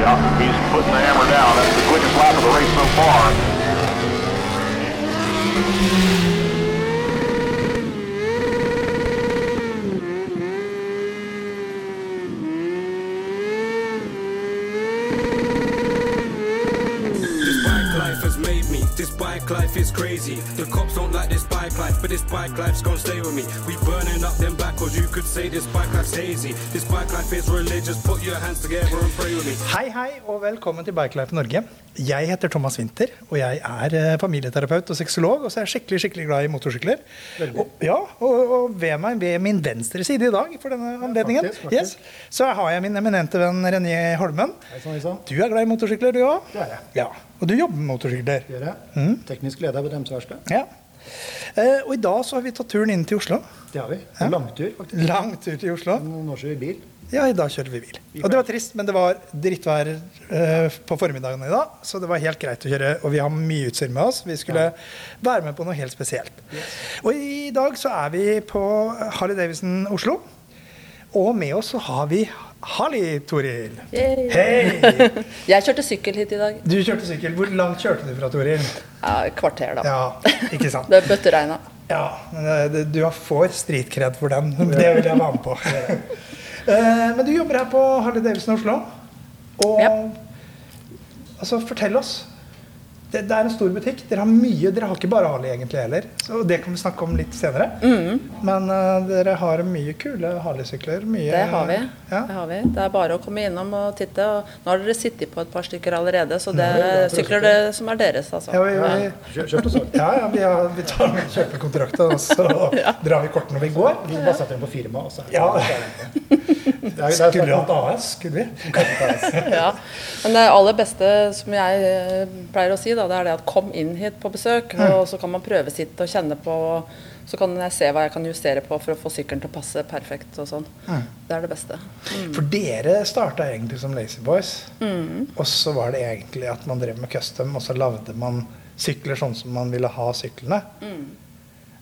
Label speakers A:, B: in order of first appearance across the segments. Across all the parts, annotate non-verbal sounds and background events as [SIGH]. A: out. He's putting the hammer down. That's the quickest lap of the race so far.
B: This bike life has made me. This bike life is crazy. The cops don't like this bike life, but this bike life's gonna stay with me. We burning up them backwards. You could say this bike life's hazy. This bike life is religious. Put your hands together and pray with me.
C: Hei, hei, og velkommen til Bikelife Norge. Jeg heter Thomas Winther, og jeg er eh, familieterapeut og sexolog. Og så er jeg skikkelig skikkelig glad i motorsykler. Og, ja, og, og ved meg ved min venstre side i dag for denne anledningen,
D: faktisk,
C: yes, så har jeg min eminente venn René Holmen.
D: Hei sann, hei sann.
C: Du er glad i motorsykler, du òg?
D: Det er jeg.
C: Ja, og du jobber med motorsykler.
D: Gjør jeg. Teknisk leder ved bremseverkstedet.
C: Mm. Ja. Eh, Og i dag så har vi tatt turen inn til Oslo.
D: Det har vi. En langtur, faktisk.
C: Lang tur til Oslo.
D: Nå kjører vi bil.
C: Ja, i dag kjører vi bil. Og det var trist, men det var drittvær eh, på formiddagen i dag, så det var helt greit å kjøre. Og vi har mye utstyr med oss. Vi skulle være med på noe helt spesielt. Og i dag så er vi på Harley Davidson Oslo. Og med oss så har vi Harley, Toril.
E: Yay.
C: Hei!
E: Jeg kjørte sykkel hit i dag.
C: Du kjørte sykkel. Hvor langt kjørte du fra, Toril?
E: Ja, et kvarter, da.
C: Ja, ikke sant?
E: Det bøtteregna.
C: Ja, men eh, det- du har- får stritkred for den. [LAUGHS] Det vil jeg være med på. [LAUGHS] Eh, Men du jobber her på Harley Davidson Oslo. Og
E: Ja.
C: altså, fortell oss. Det, det er en stor butikk. Dere har mye. Dere har ikke bare Harley egentlig heller. Så det kan vi snakke om litt senere.
E: Mm.
C: Men eh, dere har mye kule Harley-sykler. mye-
E: Det har vi.
C: Ja.
E: Det har vi. Det er bare å komme innom og titte. Og nå har dere sittet på et par stykker allerede, så det
D: det
E: er
D: er
E: sykler det som er deres, altså.
C: Ja, vi, vi,
D: Kjø- Kjøpt og solgt.
C: ja, ja, vi, har, vi tar med kjøpekontrakten, og
E: [LAUGHS]
C: så drar vi kortene vi går.
D: Vi bare setter den på firma, og så er det-
C: Ja.
D: Det er- det er-
C: Skulle vi hatt AS? Skulle vi?
E: [LAUGHS] Ja. Men det aller beste som jeg eh, pleier å si, da, det er det at kom inn hit på besøk,
C: Mm.
E: og så kan man prøvesitte og kjenne på så kan jeg se hva jeg kan justere på for å få sykkelen til å passe perfekt. og sånn.
C: Mm.
E: Det er det beste.
C: For dere starta egentlig som Lazy Boys. Og så var det egentlig at man drev med custom, og så lagde man sykler sånn som man ville ha syklene.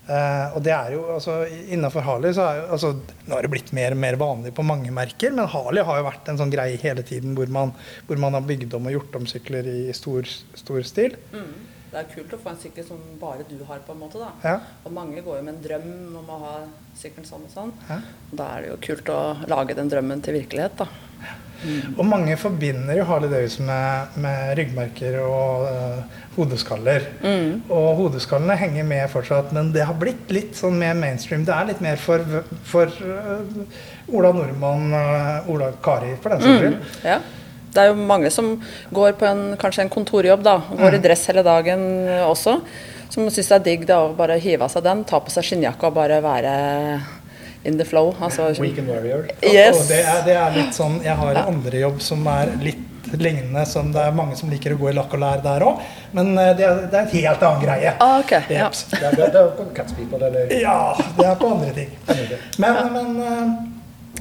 C: Eh, og det er jo, altså Innafor Harley så er jo, altså, nå har det blitt mer og mer vanlig på mange merker, men Harley har jo vært en sånn greie hele tiden hvor man, hvor man har bygd om og gjort om sykler i stor, stor stil.
E: Det er kult å få en sykkel som bare du har, på en måte. da.
C: Ja.
E: Og mange går jo med en drøm om å ha sykkelen sånn og sånn.
C: Ja.
E: Og Da er det jo kult å lage den drømmen til virkelighet, da.
C: Og mange forbinder jo Harley Davidson med, med ryggmerker og eh, hodeskaller.
E: Mm.
C: Og hodeskallene henger med fortsatt, men det har blitt litt sånn mer mainstream. Det er litt mer for, for eh, Ola Nordmann, eh, Ola Kari, for den
E: Mm.
C: saks skyld.
E: Ja. Det er jo mange som går på en, kanskje en kontorjobb, da. og Går i dress hele dagen også. Som syns det er digg da, å bare hive av seg den, ta på seg skinnjakka og bare være in the flow. Altså,
D: Weekend Warrior.
E: yes.
C: Og det er, det er litt sånn Jeg har en andre jobb som er litt lignende, som det er mange som liker å gå i lakk og lær der òg, men eh, det, er- det er en helt annen greie.
E: Ah, ok, ja.
C: Jeps.
D: Det er, det er, det er Catspeople, eller
C: Ja, det er på andre ting. Men, men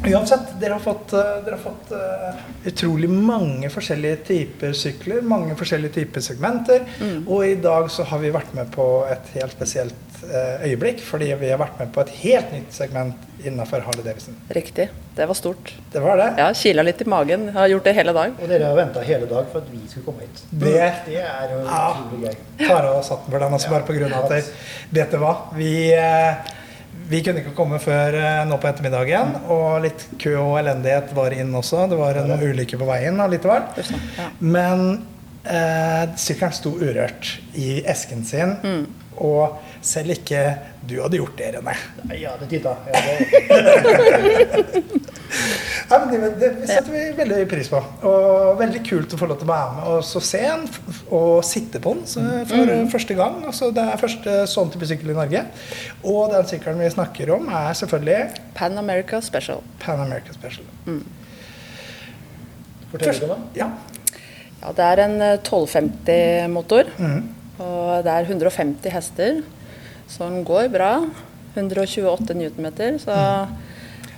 C: eh, uansett, dere har fått, eh, dere har fått eh, utrolig mange forskjellige typer sykler. Mange forskjellige typer segmenter. Og i dag så har vi vært med på et helt spesielt eh, øyeblikk, fordi vi har vært med på et helt nytt segment innafor Harley Davidson.
E: Riktig. Det var stort.
C: Det var det.
E: Ja, kila litt i magen. Jeg har gjort det hele dag.
D: Og dere har venta hele dag for at vi skulle komme hit.
C: Det-
D: det er jo
C: Ja.
D: utrolig gøy.
C: Tara og satt for den altså bare på grunn av at Vet du hva? Vi, eh, vi kunne ikke komme før eh, nå på ettermiddagen. Og litt kø og elendighet var inn også. Det var en ulykke på veien allikevel. Men eh, sykkelen sto urørt i esken sin. Og selv ikke du hadde gjort det, René.
D: Nei, Ja, det titta. Ja, det,
C: Nei, men det, det setter vi veldig pris på. Og veldig kult å få lov til å være med og så se den, f- og sitte på den så for eh, første gang. Altså, det er første sånn type sykkel i Norge. Og den sykkelen vi snakker om, er selvfølgelig
E: Pan America Special.
C: Pan American Special.
D: fortell dere om det.
C: Ja.
E: Ja, det er en eh, 1250-motor.
C: Mhm.
E: Og det er 150 hester, så den går bra. 128 newtonmeter, så
C: Mhm.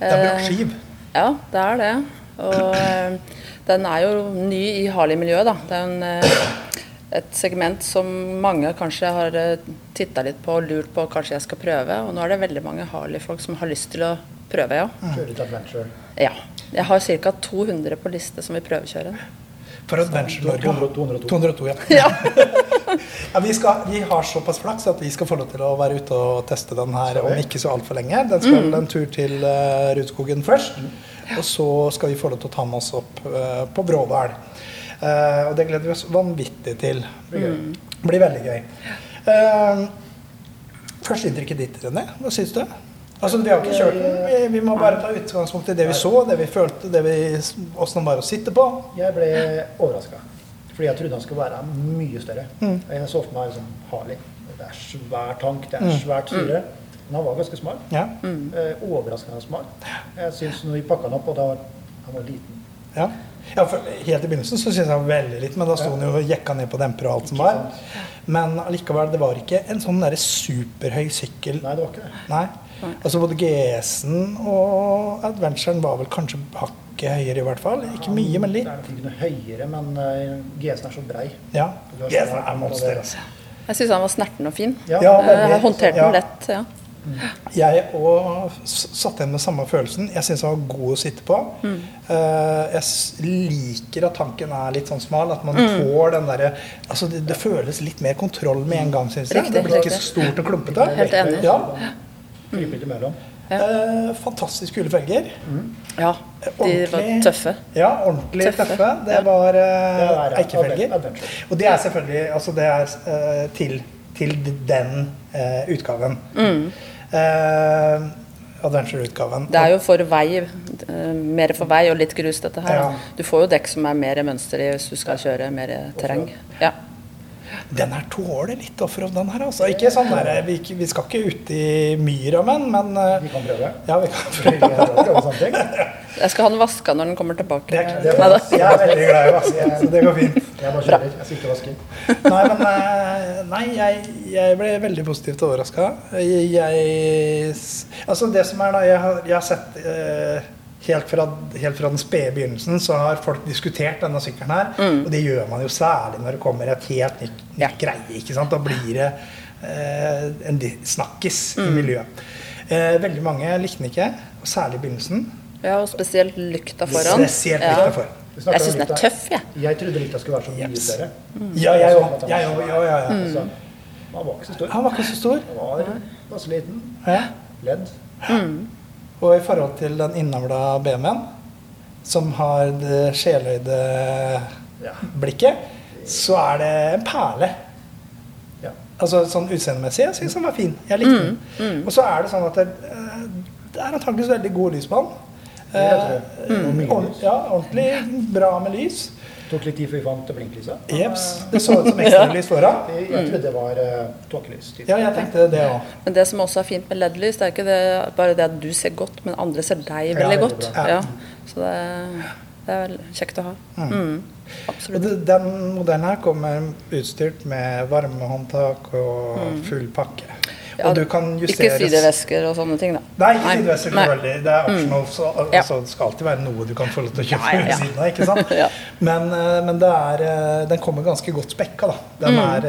E: eh,
C: Det er bra skiv.
E: Ja, det er det. Og eh, den er jo ny i Harley-miljøet, da. Det er jo en, eh, et segment som mange kanskje har titta litt på og lurt på kanskje jeg skal prøve. Og nå er det veldig mange Harley-folk som har lyst til å prøve, ja.
C: Mhm. Mm.
D: Kjøre litt adventure.
C: [LAUGHS]
E: ja. Jeg har ca. 200 på liste som vil prøvekjøre den.
C: For Adventure Norge
D: 200 202.
C: 202 ja.
E: Ja.
C: Ja, vi, skal, vi har såpass flaks at vi skal få lov til å være ute og teste den her om ikke så altfor lenge. Den skal en tur til uh, Rudskogen først, og så skal vi få lov til å ta med oss opp eh, på Brådal. Eh, og det gleder vi oss vanvittig til. Det blir, veldig gøy. Uh, Førsteinntrykket ditt, René, hva syns du? Altså, Vi har ikke kjørt den. Vi, vi må bare ta utgangspunkt i det vi så, det vi følte, det vi, åssen den var å sitte på.
D: Jeg ble overraska. Fordi jeg trodde han skulle være mye større.
C: Mm.
D: Jeg så for meg en sånn Harley. Det er svær tank, det
C: Mm.
D: er svært styre. Men han var ganske smal.
C: Ja.
D: Eh, Overraskende smal. Jeg syns når vi pakka han opp, og da var han var liten
C: Ja. ja for helt i begynnelsen så syntes jeg han var veldig litt, men da sto han jo og jekka ned på demper og alt som var. Men allikevel, det var ikke en sånn derre superhøy sykkel.
D: Nei, det var ikke det.
C: Nei. Altså både GS-en og Adventuren var vel kanskje hakket høyere, i hvert fall. Ikke mye, men
D: Det
C: litt.
D: er nok ikke noe høyere, men eh, GS-en er så brei.
C: Ja. GS-en er monster, altså.
E: Jeg syns han var snerten og fin.
D: Ja,
C: Ja,
E: Eh, Jeg
C: veldig.
E: håndterte
C: Ja.
E: den lett. ja.
C: Jeg òg satt igjen med samme følelsen. Jeg syns han var god å sitte på.
E: Mm.
C: Eh, jeg s- liker at tanken er litt sånn smal, at man
E: Mm.
C: får den derre altså det, det føles litt mer kontroll med en gang, syns jeg.
E: Riktig,
C: det blir ikke
E: riktig.
C: så stort og klumpete.
E: Helt enig.
C: Ja.
D: Krype litt imellom.
C: Eh, fantastisk kule felger.
E: ja. De var
C: Ordentlig-
E: tøffe.
C: Ja, ordentlig tøffe.
E: Tøffe.
C: Det var eh,
D: Det er, ja,
C: eikefelger.
D: adventure.
C: Og det er selvfølgelig altså det er eh, til, til den eh, utgaven. Eh, Adventure-utgaven.
E: Mm. Det er jo for vei, eh, mer for vei og litt grus, dette her.
C: Ja.
E: da. Du får jo dekk som er mer mønster i hvis du skal kjøre mer terreng. Ja.
C: Den her tåler litt offroad, den her. Altså. Ikke sånn der, vi, vi skal ikke ut i myra med den, men eh,
D: Vi kan prøve.
C: ja, vi kan [LAUGHS]
D: Vi kan prøve samtidig.
E: Jeg skal ha den vaska når den kommer tilbake.
C: Det er-
D: Det er-
E: Neida.
C: Jeg er veldig glad i vask, jeg- så det går fint.
D: Jeg bare kjører. Jeg sitter og vasker.
C: Nei, men eh, nei, jeg, jeg ble veldig positivt overraska. Jeg, jeg s- Altså, det som er, da Jeg har, jeg har sett eh, helt, fra, helt fra den spede begynnelsen, så har folk diskutert denne sykkelen her. Og det gjør man jo særlig når det kommer et helt nytt, nytt
E: Mm. Ja.
C: greie. ikke sant? Da blir det eh, en di- snakkis
E: Mm.
C: i miljøet. Eh, veldig mange likte den ikke, og særlig i begynnelsen.
E: Ja, og spesielt lykta foran.
C: Spesielt
E: Ja.
C: likte jeg for.
D: Vi snakker
E: Jeg
D: om
E: syns den er
D: lykta.
E: tøff, jeg.
D: Jeg trodde lykta skulle være så mye
C: Yes.
D: større.
E: Mm.
C: Ja, jeg Mm. òg. Ja, ja, ja, ja.
D: Så, han var ikke så stor.
C: Han var ikke så stor.
D: Han var passe liten.
C: Ja.
D: Ledd.
C: Og i forhold til den innavla BMW-en, som har det sjeløyde
D: Ja.
C: blikket, så er det en perle.
D: Ja.
C: Altså sånn utseendemessig. Jeg syns den var fin. Jeg likte
E: Mm,
C: den. Og så er det sånn at det, eh, det er antakeligvis veldig god lys på den.
D: Det Mm. tror jeg.
C: Eh,
D: Og mye
C: ord-
D: lys.
C: Ja, ordentlig bra med lys.
D: Tok litt tid før vi fant blinklyset.
C: Jeps. Det så
E: [LAUGHS]
C: ut som ekstralys foran.
D: Jeg jeg trodde det var eh, tåkelys. typ.
C: Mm. Ja, jeg tenkte det òg.
E: Men det som også er fint med LED-lys, det er ikke det, bare det at du ser godt, men andre ser deg
D: Ja,
E: veldig
D: veldig
E: godt.
C: bra.
E: Ja. Så det, det er vel kjekt å ha. Mm.
C: Og
E: Absolutt.
C: det- Den modellen her kommer utstyrt med varmehåndtak og full pakke.
E: Mm. Ja,
C: Og du kan
E: Ikke
C: justeres
E: sidevesker og sånne ting, da.
C: Nei, ikke sidevesker.
E: Nei. Mm.
C: selvfølgelig. Det er optional. Så, al-
E: Ja.
C: altså, det skal alltid være noe du kan få lov til å kjøpe
E: Ja, ja, ja.
C: ved siden av. ikke sant?
E: [LAUGHS] Ja.
C: Men, eh, men det er, eh, den kommer ganske godt spekka. da. Den er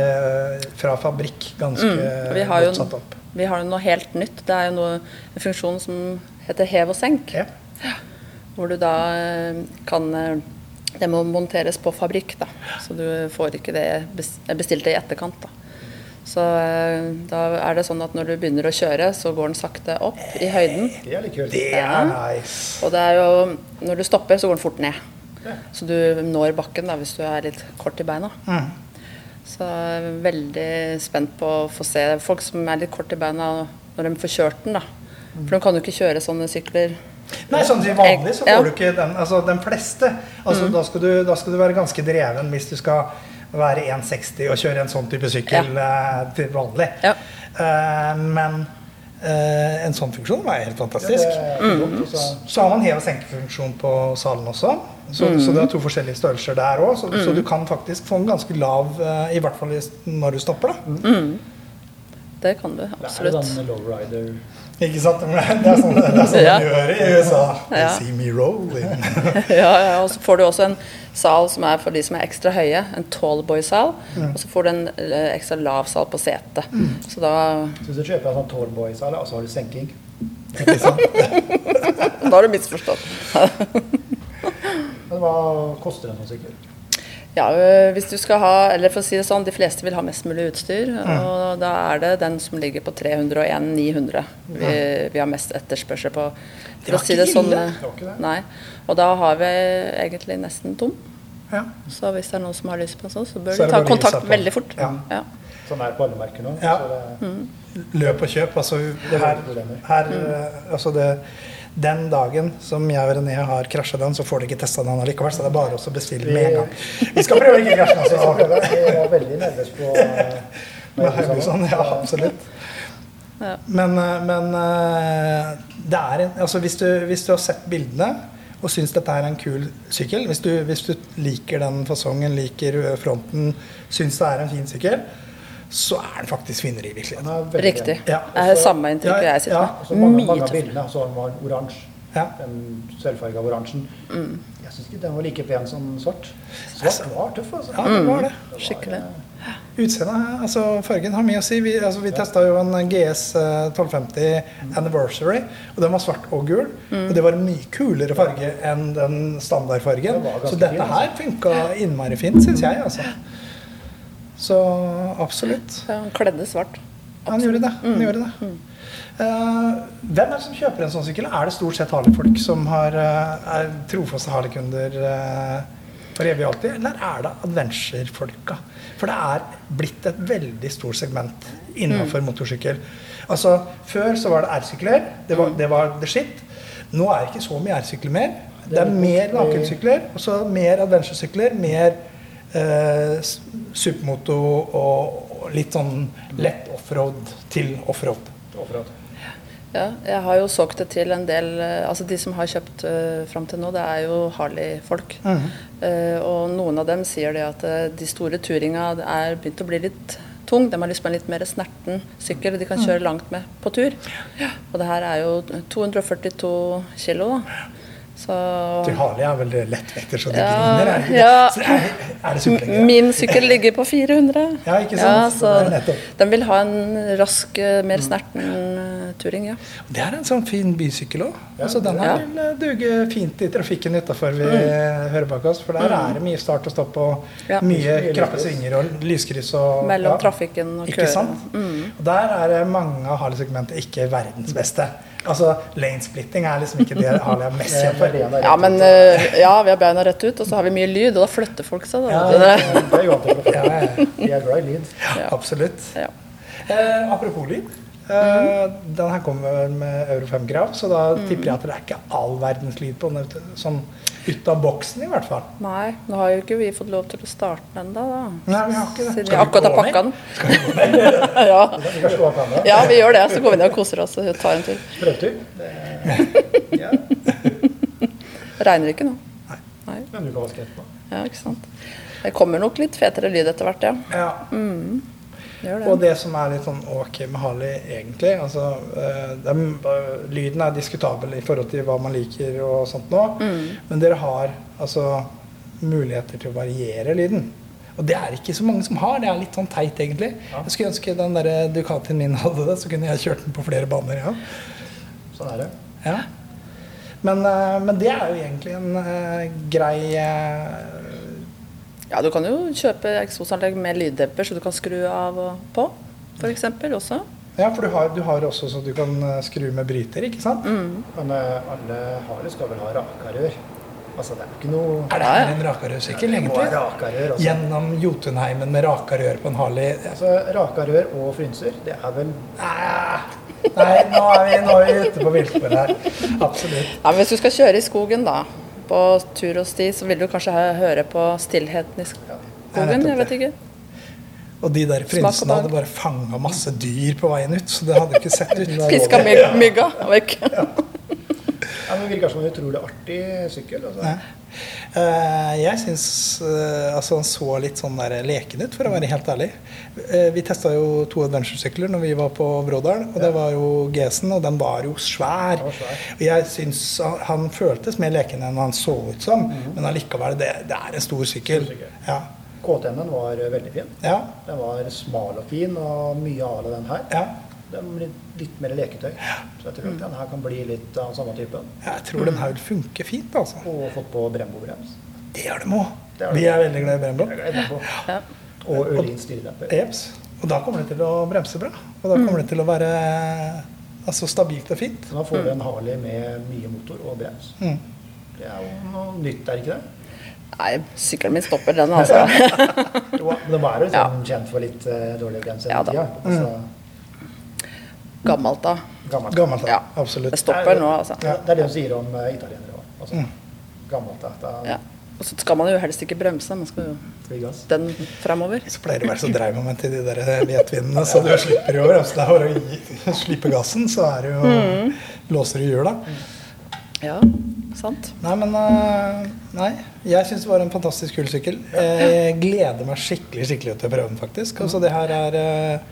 C: eh, fra fabrikk ganske
E: Og Mm. Vi har jo
C: godt satt opp.
E: vi har jo noe helt nytt. Det er jo noe, en funksjon som heter hev og senk.
C: Ja.
E: Hvor du da eh, kan eh, Det må monteres på fabrikk, da. Så du får ikke det bes- bestilte i etterkant, da. Så eh, da er det sånn at når du begynner å kjøre, så går den sakte opp i høyden.
D: Det er litt kult.
C: Det
E: Ja.
C: er nice.
E: Og det er jo Når du stopper, så går den fort ned. Så du når bakken da, hvis du er litt kort i beina.
D: Mm.
E: Så jeg er veldig spent på å få se folk som er litt kort i beina når de får kjørt den. da. For de kan jo ikke kjøre sånne sykler.
C: Nei, sånn til vanlig så
E: Ja.
C: får
E: Mm.
C: du ikke den, altså, den fleste. Altså, da, skal du, da skal du være ganske dreven hvis du skal være 1,60 og kjøre en sånn type sykkel eh, til vanlig.
E: Ja.
C: Eh, men eh, en sånn funksjon var helt fantastisk.
D: Mm. Så,
C: Så har man hev- og senkefunksjon på salen også. Så, så
E: Mm.
C: det er to forskjellige størrelser der òg. Så, så du kan faktisk få en ganske lav, eh, i hvert fall i s- når du stopper. da.
E: Mm. Det kan du
D: det er jo
E: absolutt.
D: den lowrider
C: Ikke sant? Det er sånn det er sånn
E: Ja.
C: de gjør i USA. They
E: Ja.
C: see me rolling.
E: [LAUGHS] Ja, ja, og så får du også en sal som er for de som er ekstra høye, en tallboy-sal.
D: Mm.
E: Og så får du en eh, ekstra lav sal på setet. Så da,
D: Så hvis du kjøper en sånn Tallboy-sal, og så har du senking
C: Ikke sant?
E: da har du misforstått.
D: Men hva koster en sånn sykkel?
E: Ja, øh, hvis du skal ha, eller for å si det sånn, De fleste vil ha mest mulig utstyr.
C: Mm.
E: og Da er det den som ligger på 301 900 vi, vi har mest etterspørsel på.
C: Det var
E: For å si
C: Mm. ikke
E: det sånn,
C: ille.
E: øh,
C: Det var ikke det.
E: Nei. Og da har vi egentlig nesten tom.
C: Ja.
E: Så hvis det er noen som har lyst på en sånn, så bør
C: Så er det
E: de ta
C: bare å hive seg
E: kontakt
C: på.
E: veldig fort.
C: Ja.
E: Ja.
D: Sånn er det på alle merker nå.
C: Ja. Mm.
D: Så det,
C: Løp og kjøp. Altså, her, her, eh, altså det, den dagen som jeg og René har krasja den, så får de ikke testa den allikevel. Så det er bare å bestille med en gang. Vi skal prøve å ikke krasje den.
D: jeg skal prøve.
C: Altså.
D: Jeg var veldig nervøs på eh,
C: Med
D: Norge
C: Haugesand,
D: sammen.
C: ja, absolutt.
E: Ja.
C: Men, eh, men eh, det er en, altså hvis, du, hvis du har sett bildene og syns dette er en kul sykkel, hvis du, hvis du liker den fasongen, liker eh, fronten, syns det er en fin sykkel, så er den faktisk finere i virkeligheten.
D: Den er veldig-
E: Riktig.
C: Ja.
E: Det er samme inntrykket
C: Ja,
E: jeg sitter
C: ja.
E: med.
D: Og så mange, mange
E: Mye
D: av
E: tøffere.
D: bildene så var den oransje.
C: Ja. Mm.
D: Den sølvfarga oransjen. Jeg syns ikke den var like pen som svart. Svart var tøff, altså.
C: Ja, det var det.
E: Skikkelig.
C: Utseendet, altså fargen har mye å si. Vi, altså, vi testa jo en GS eh, 1250 Anniversary, og den var svart og gul.
D: Mm.
C: Og det var en mye kulere farge enn den standardfargen.
D: Den var ganske
C: Så dette
D: fin, altså.
C: her funka innmari fint, syns jeg, altså. Så absolutt.
E: Så han kledde svart.
C: Han gjorde det.
D: Mm.
C: Han gjorde det. Eh, hvem er det som kjøper en sånn sykkel? Er det stort sett Harley-folk som har, eh, er trofaste Harley-kunder eh, for evig og alltid, eller er det adventure-folka? For det er blitt et veldig stort segment innenfor motorsykkel. Altså, Før så var det R-sykler. Det, var- det var the shit. Nå er det ikke så mye R-sykler mer. Det er mer nakensykler, og så mer adventure-sykler, mer eh, s- supermoto og og litt sånn lett offroad til offroad.
D: Overalt.
E: Ja, jeg har jo solgt det til en del eh, Altså de som har kjøpt uh, fram til nå, det er jo Harley-folk.
C: Mhm.
E: Eh, og noen av dem sier det at eh, de store turinga er begynt å bli litt tung. De har lyst på en litt mer snerten sykkel de
C: Mhm.
E: kan kjøre langt med på tur. Og det her er jo 242 kilo, da. Så
C: Til Harley er vel det lettvekter, så det
E: Ja,
C: griner. Er det, ikke
E: ja.
C: det? Så er, er det superlenge?
E: Min sykkel ligger på 400.
C: Ja, ikke sant?
E: Ja,
C: Så det er
E: så
C: nettopp.
E: de vil ha en rask, eh, mer snerten eh, turing, ja.
C: Det er en sånn fin bysykkel òg. Altså, den her
E: Ja.
C: vil eh, duge fint i trafikken utafor vi eh, hører bak oss. For der er det mye start og stopp og
E: Mm. Ja.
C: mye
D: Mye
C: krappe
D: lyskryss.
C: svinger og lyskryss. Og,
E: Mellom trafikken og Mm.
C: Ikke
E: køer.
C: sant? Og der er det mange av Harley-segmentet ikke verdens beste. Altså, Lane-splitting er liksom ikke det Harley er mest
D: [LAUGHS]
C: kjent for.
E: Ja, men eh, ja, vi har beina rett ut, og så har vi mye lyd, og da flytter folk seg. Da. Det-
D: Det er jo alltid bra.
C: Ja, ja, ja.
D: Vi er glad i lyd.
C: Absolutt.
E: ja.
C: Eh, apropos lyd. Eh, Den her kommer vel med Euro 5 grav, så da tipper jeg at det er ikke all verdens lyd på den. vet du. Sånn ut av boksen, i hvert fall.
E: Nei, nå har jo ikke vi fått lov til å starte den ennå, da.
C: Nei, vi har ikke det.
E: Siden vi
C: Skal vi
E: akkurat har
C: gå ned?
E: pakka den. [LAUGHS] ja.
D: Vi kan slå av kameraet.
E: ja, vi gjør det. Så går vi ned og koser oss og tar en tur.
D: Prøvtur. Det- Ja,
E: Regner ikke nå. Nei.
D: men du kan vaske etterpå.
E: Ja, ikke sant. Det kommer nok litt fetere lyd etter hvert, ja.
C: Ja.
E: Gjør
C: Og
E: det.
C: det som er litt sånn ok med Harley, egentlig altså, eh, dem, eh, Lyden er diskutabel i forhold til hva man liker og sånt nå.
E: Mm.
C: Men dere har altså muligheter til å variere lyden. Og det er ikke så mange som har. Det er litt sånn teit, egentlig. Jeg skulle ønske den der Ducatien min hadde det, så kunne jeg kjørt den på flere baner. Ja.
D: Sånn er det.
C: Ja. Men, eh, men det er jo egentlig en eh, grei eh,
E: Ja, du kan jo kjøpe eksosanlegg med lyddemper, så du kan skru av og på, f.eks. også.
C: Ja, for du har, du har også så du kan eh, skru med bryter, ikke sant?
E: Mm.
D: Men eh, alle Harley skal vel ha rakarør. Altså, det er jo ikke noe
C: Er det
E: Ja, ja.
C: her en rakarørsykkel,
D: Det må ha
C: egentlig?
D: Rakarør, altså.
C: Gjennom Jotunheimen med rakarør på en Harley
D: altså. Rakarør og frynser, det er vel
C: Ah, Nei, nå er vi, nå er vi ute på viltspor her. Absolutt.
E: Ja, men hvis du skal kjøre i skogen, da, på tur og sti, så vil du kanskje hø- høre på stillheten i
C: Ja,
E: skogen?
C: nettopp
E: Jeg vet ikke.
C: Og de der
E: Smak og
C: frynsene hadde
E: behag.
C: bare fanga masse dyr på veien ut, så det hadde ikke sett ut.
E: Piska myg mygga vekk.
D: ja, men Det virker som en utrolig artig sykkel. Altså.
C: Nei. Eh, jeg syns eh, altså han så litt sånn der leken ut, for å være helt ærlig. Eh, vi testa jo to adventure-sykler når vi var på Brådal, og det var jo GS-en, og den var jo svær.
D: var svær.
C: Og jeg syns han, han føltes mer leken enn han så ut som,
D: Mhm.
C: men allikevel, det, det er en stor sykkel. Ja.
D: KTM-en var eh, veldig fin.
C: ja.
D: Den var smal og fin, og mye à la den her.
C: Ja.
D: Den blir litt mer leketøy. Så jeg tror at den her kan bli litt av samme typen.
C: Jeg tror den her vil funke fint, altså.
D: Og fått på Brembo-brems.
C: Det gjør de òg.
D: Mhm. Det er
C: Vi
D: det.
C: er veldig glad i Brembo.
D: Jeg er glad i Brembo.
E: Ja.
D: Og Ørlin styredemper.
C: Eps. Og da kommer det til å bremse bra. Og da
D: Mhm.
C: kommer det til å være altså, stabilt og fint. Mhm.
D: Så da får du en Harley med mye motor og brems. Det er jo noe nytt, er det ikke det?
E: Nei, sykkelen min stopper den, altså.
D: Jo, De er jo liksom kjent for litt eh, dårlig brems
E: Ja
D: hele
E: da.
D: tida. Altså,
E: [LAUGHS] Gammelt, da.
D: gammelt.
C: Gammelt, da.
E: Ja.
C: Absolutt.
E: Det stopper nå, altså.
D: Ja, det er det de sier om eh, italienere òg. Altså, Gammelt. At det
E: Ja.
D: er
E: Og så skal man jo helst ikke bremse, man skal jo
D: big gass.
E: den fremover.
C: Så pleier det å være så dreivmoment i de der hvetvindene, så du slipper jo altså, det er bare å gi- slippe gassen, så er det jo
E: Mm.
C: låser du hjula.
E: Ja, sant.
C: Nei, men eh, Nei. Jeg syns det var en fantastisk kul sykkel. Jeg gleder meg skikkelig skikkelig til å prøve den, faktisk. Altså, det her er eh,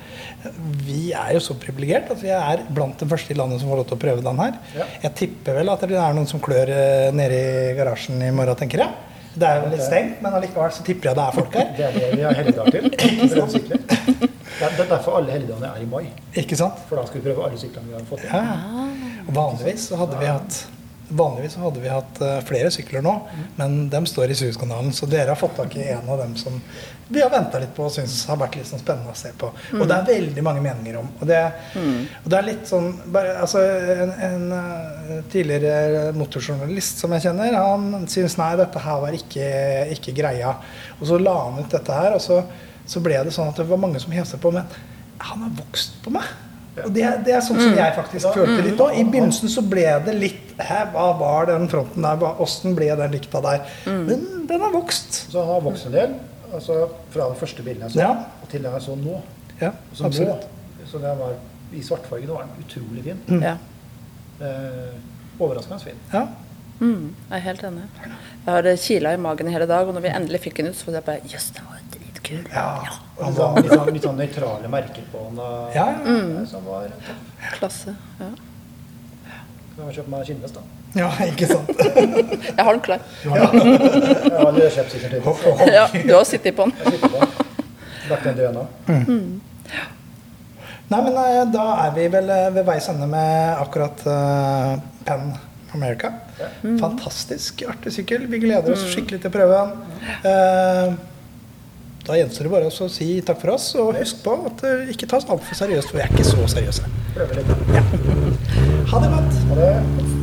C: Vi er jo så privilegert at vi er blant de første i landet som får lov til å prøve den her.
D: Ja.
C: Jeg tipper vel at det er noen som klør eh, nede i garasjen i morgen, tenker jeg. Det er jo litt stengt, men allikevel så tipper jeg det er folk her.
D: [LAUGHS] Det er det vi har helligdager til. Bremsykler. Det er det er derfor alle helligdagene er i mai.
C: Ikke sant?
D: For da skal vi prøve alle syklene vi har fått inn.
C: Ja. Og Vanligvis så hadde vi hatt Vanligvis så hadde vi hatt eh, flere sykler nå, men dem står i Suezkanalen. Så dere har fått tak i en av dem som vi har venta litt på og syns har vært litt sånn spennende å se på. Og det er veldig mange meninger om. Og det, og det er litt sånn bare, altså, en, en eh, tidligere motorjournalist som jeg kjenner, han syns nei, dette her var ikke, ikke greia. Og så la han ut dette her, og så, så ble det sånn at det var mange som hev seg på. Men han har vokst på meg. Og det, det er sånn som jeg faktisk følte litt òg. I begynnelsen så ble det litt Hæ, hva var den fronten der? Hva- Åssen ble den dikta der? Men den har vokst.
D: Så han har vokst en del. Altså fra den første bilen jeg så,
C: Ja.
D: og til den jeg så nå.
C: Ja,
D: Så
C: absolutt.
D: nå, så den var i svartfargen, og var den utrolig fin.
C: Mm.
E: Ja.
D: Eh, overraskende fin.
C: Ja.
E: Mm, jeg er helt enig. Jeg har eh, kila i magen i hele dag, og når vi endelig fikk den ut, så var jeg bare Jøss, den var jo dritkul.
C: ja.
D: Og litt sånn, litt sånn, litt sånn nøytrale merker på den. og-
C: Ja, ja.
D: Som var tøff.
E: Klasse. Ja.
D: Kan jeg kjøpe meg skinnvest, da.
C: ja [LAUGHS] ikke sant?
E: Jeg har den klar.
D: Jeg har aldri kjøpt sikkert til. så
E: Ja, du har sittet på den.
D: jeg slipper det. Lagt den død nå.
C: Nei, men eh, da er vi vel eh, ved veis ende med akkurat uh, Pan America. Fantastisk artig sykkel. Vi gleder oss skikkelig til å prøve den. Eh, da gjenstår det bare også å si takk for oss, og husk på at eh, det [LAUGHS] ikke tas altfor seriøst, for vi er ikke så seriøse.
D: Prøver litt.
C: Ha det godt.
D: Ha det.